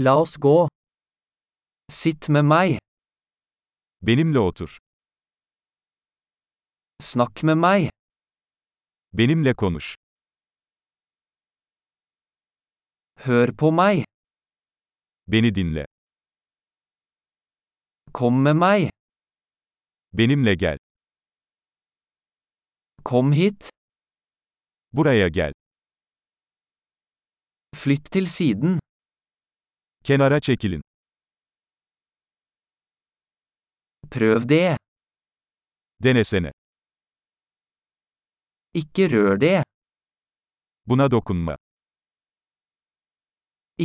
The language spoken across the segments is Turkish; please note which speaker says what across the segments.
Speaker 1: La oss gå. Sitt med meg.
Speaker 2: Benimle otur.
Speaker 1: Snakk med meg.
Speaker 2: Benimle konuş.
Speaker 1: Hør på meg.
Speaker 2: Beni dinle.
Speaker 1: Kom med meg.
Speaker 2: Benimle gel.
Speaker 1: Kom hit.
Speaker 2: Buraya gel.
Speaker 1: Flytt til siden.
Speaker 2: Kenara çekilin.
Speaker 1: Prøv det.
Speaker 2: Denesene.
Speaker 1: Ikke rør det.
Speaker 2: Buna dokunma.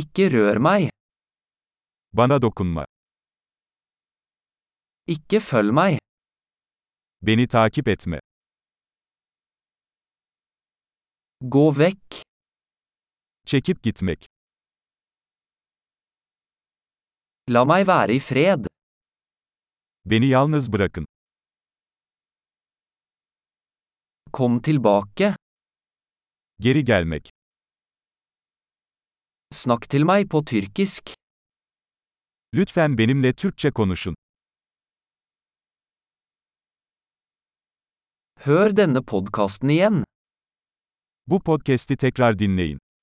Speaker 1: Ikke rør meg.
Speaker 2: Bana dokunma.
Speaker 1: Ikke følg meg.
Speaker 2: Beni takip etme.
Speaker 1: Gå vekk.
Speaker 2: Çekip gitmek.
Speaker 1: La meg være i fred.
Speaker 2: Beni yalnız bırakın.
Speaker 1: Kom tilbake.
Speaker 2: Geri gelmek.
Speaker 1: Snakk til meg på tyrkisk.
Speaker 2: Lütfen benimle Türkçe konuşun.
Speaker 1: Hør denne podkasten igjen.
Speaker 2: Bu podcast'i tekrar dinleyin.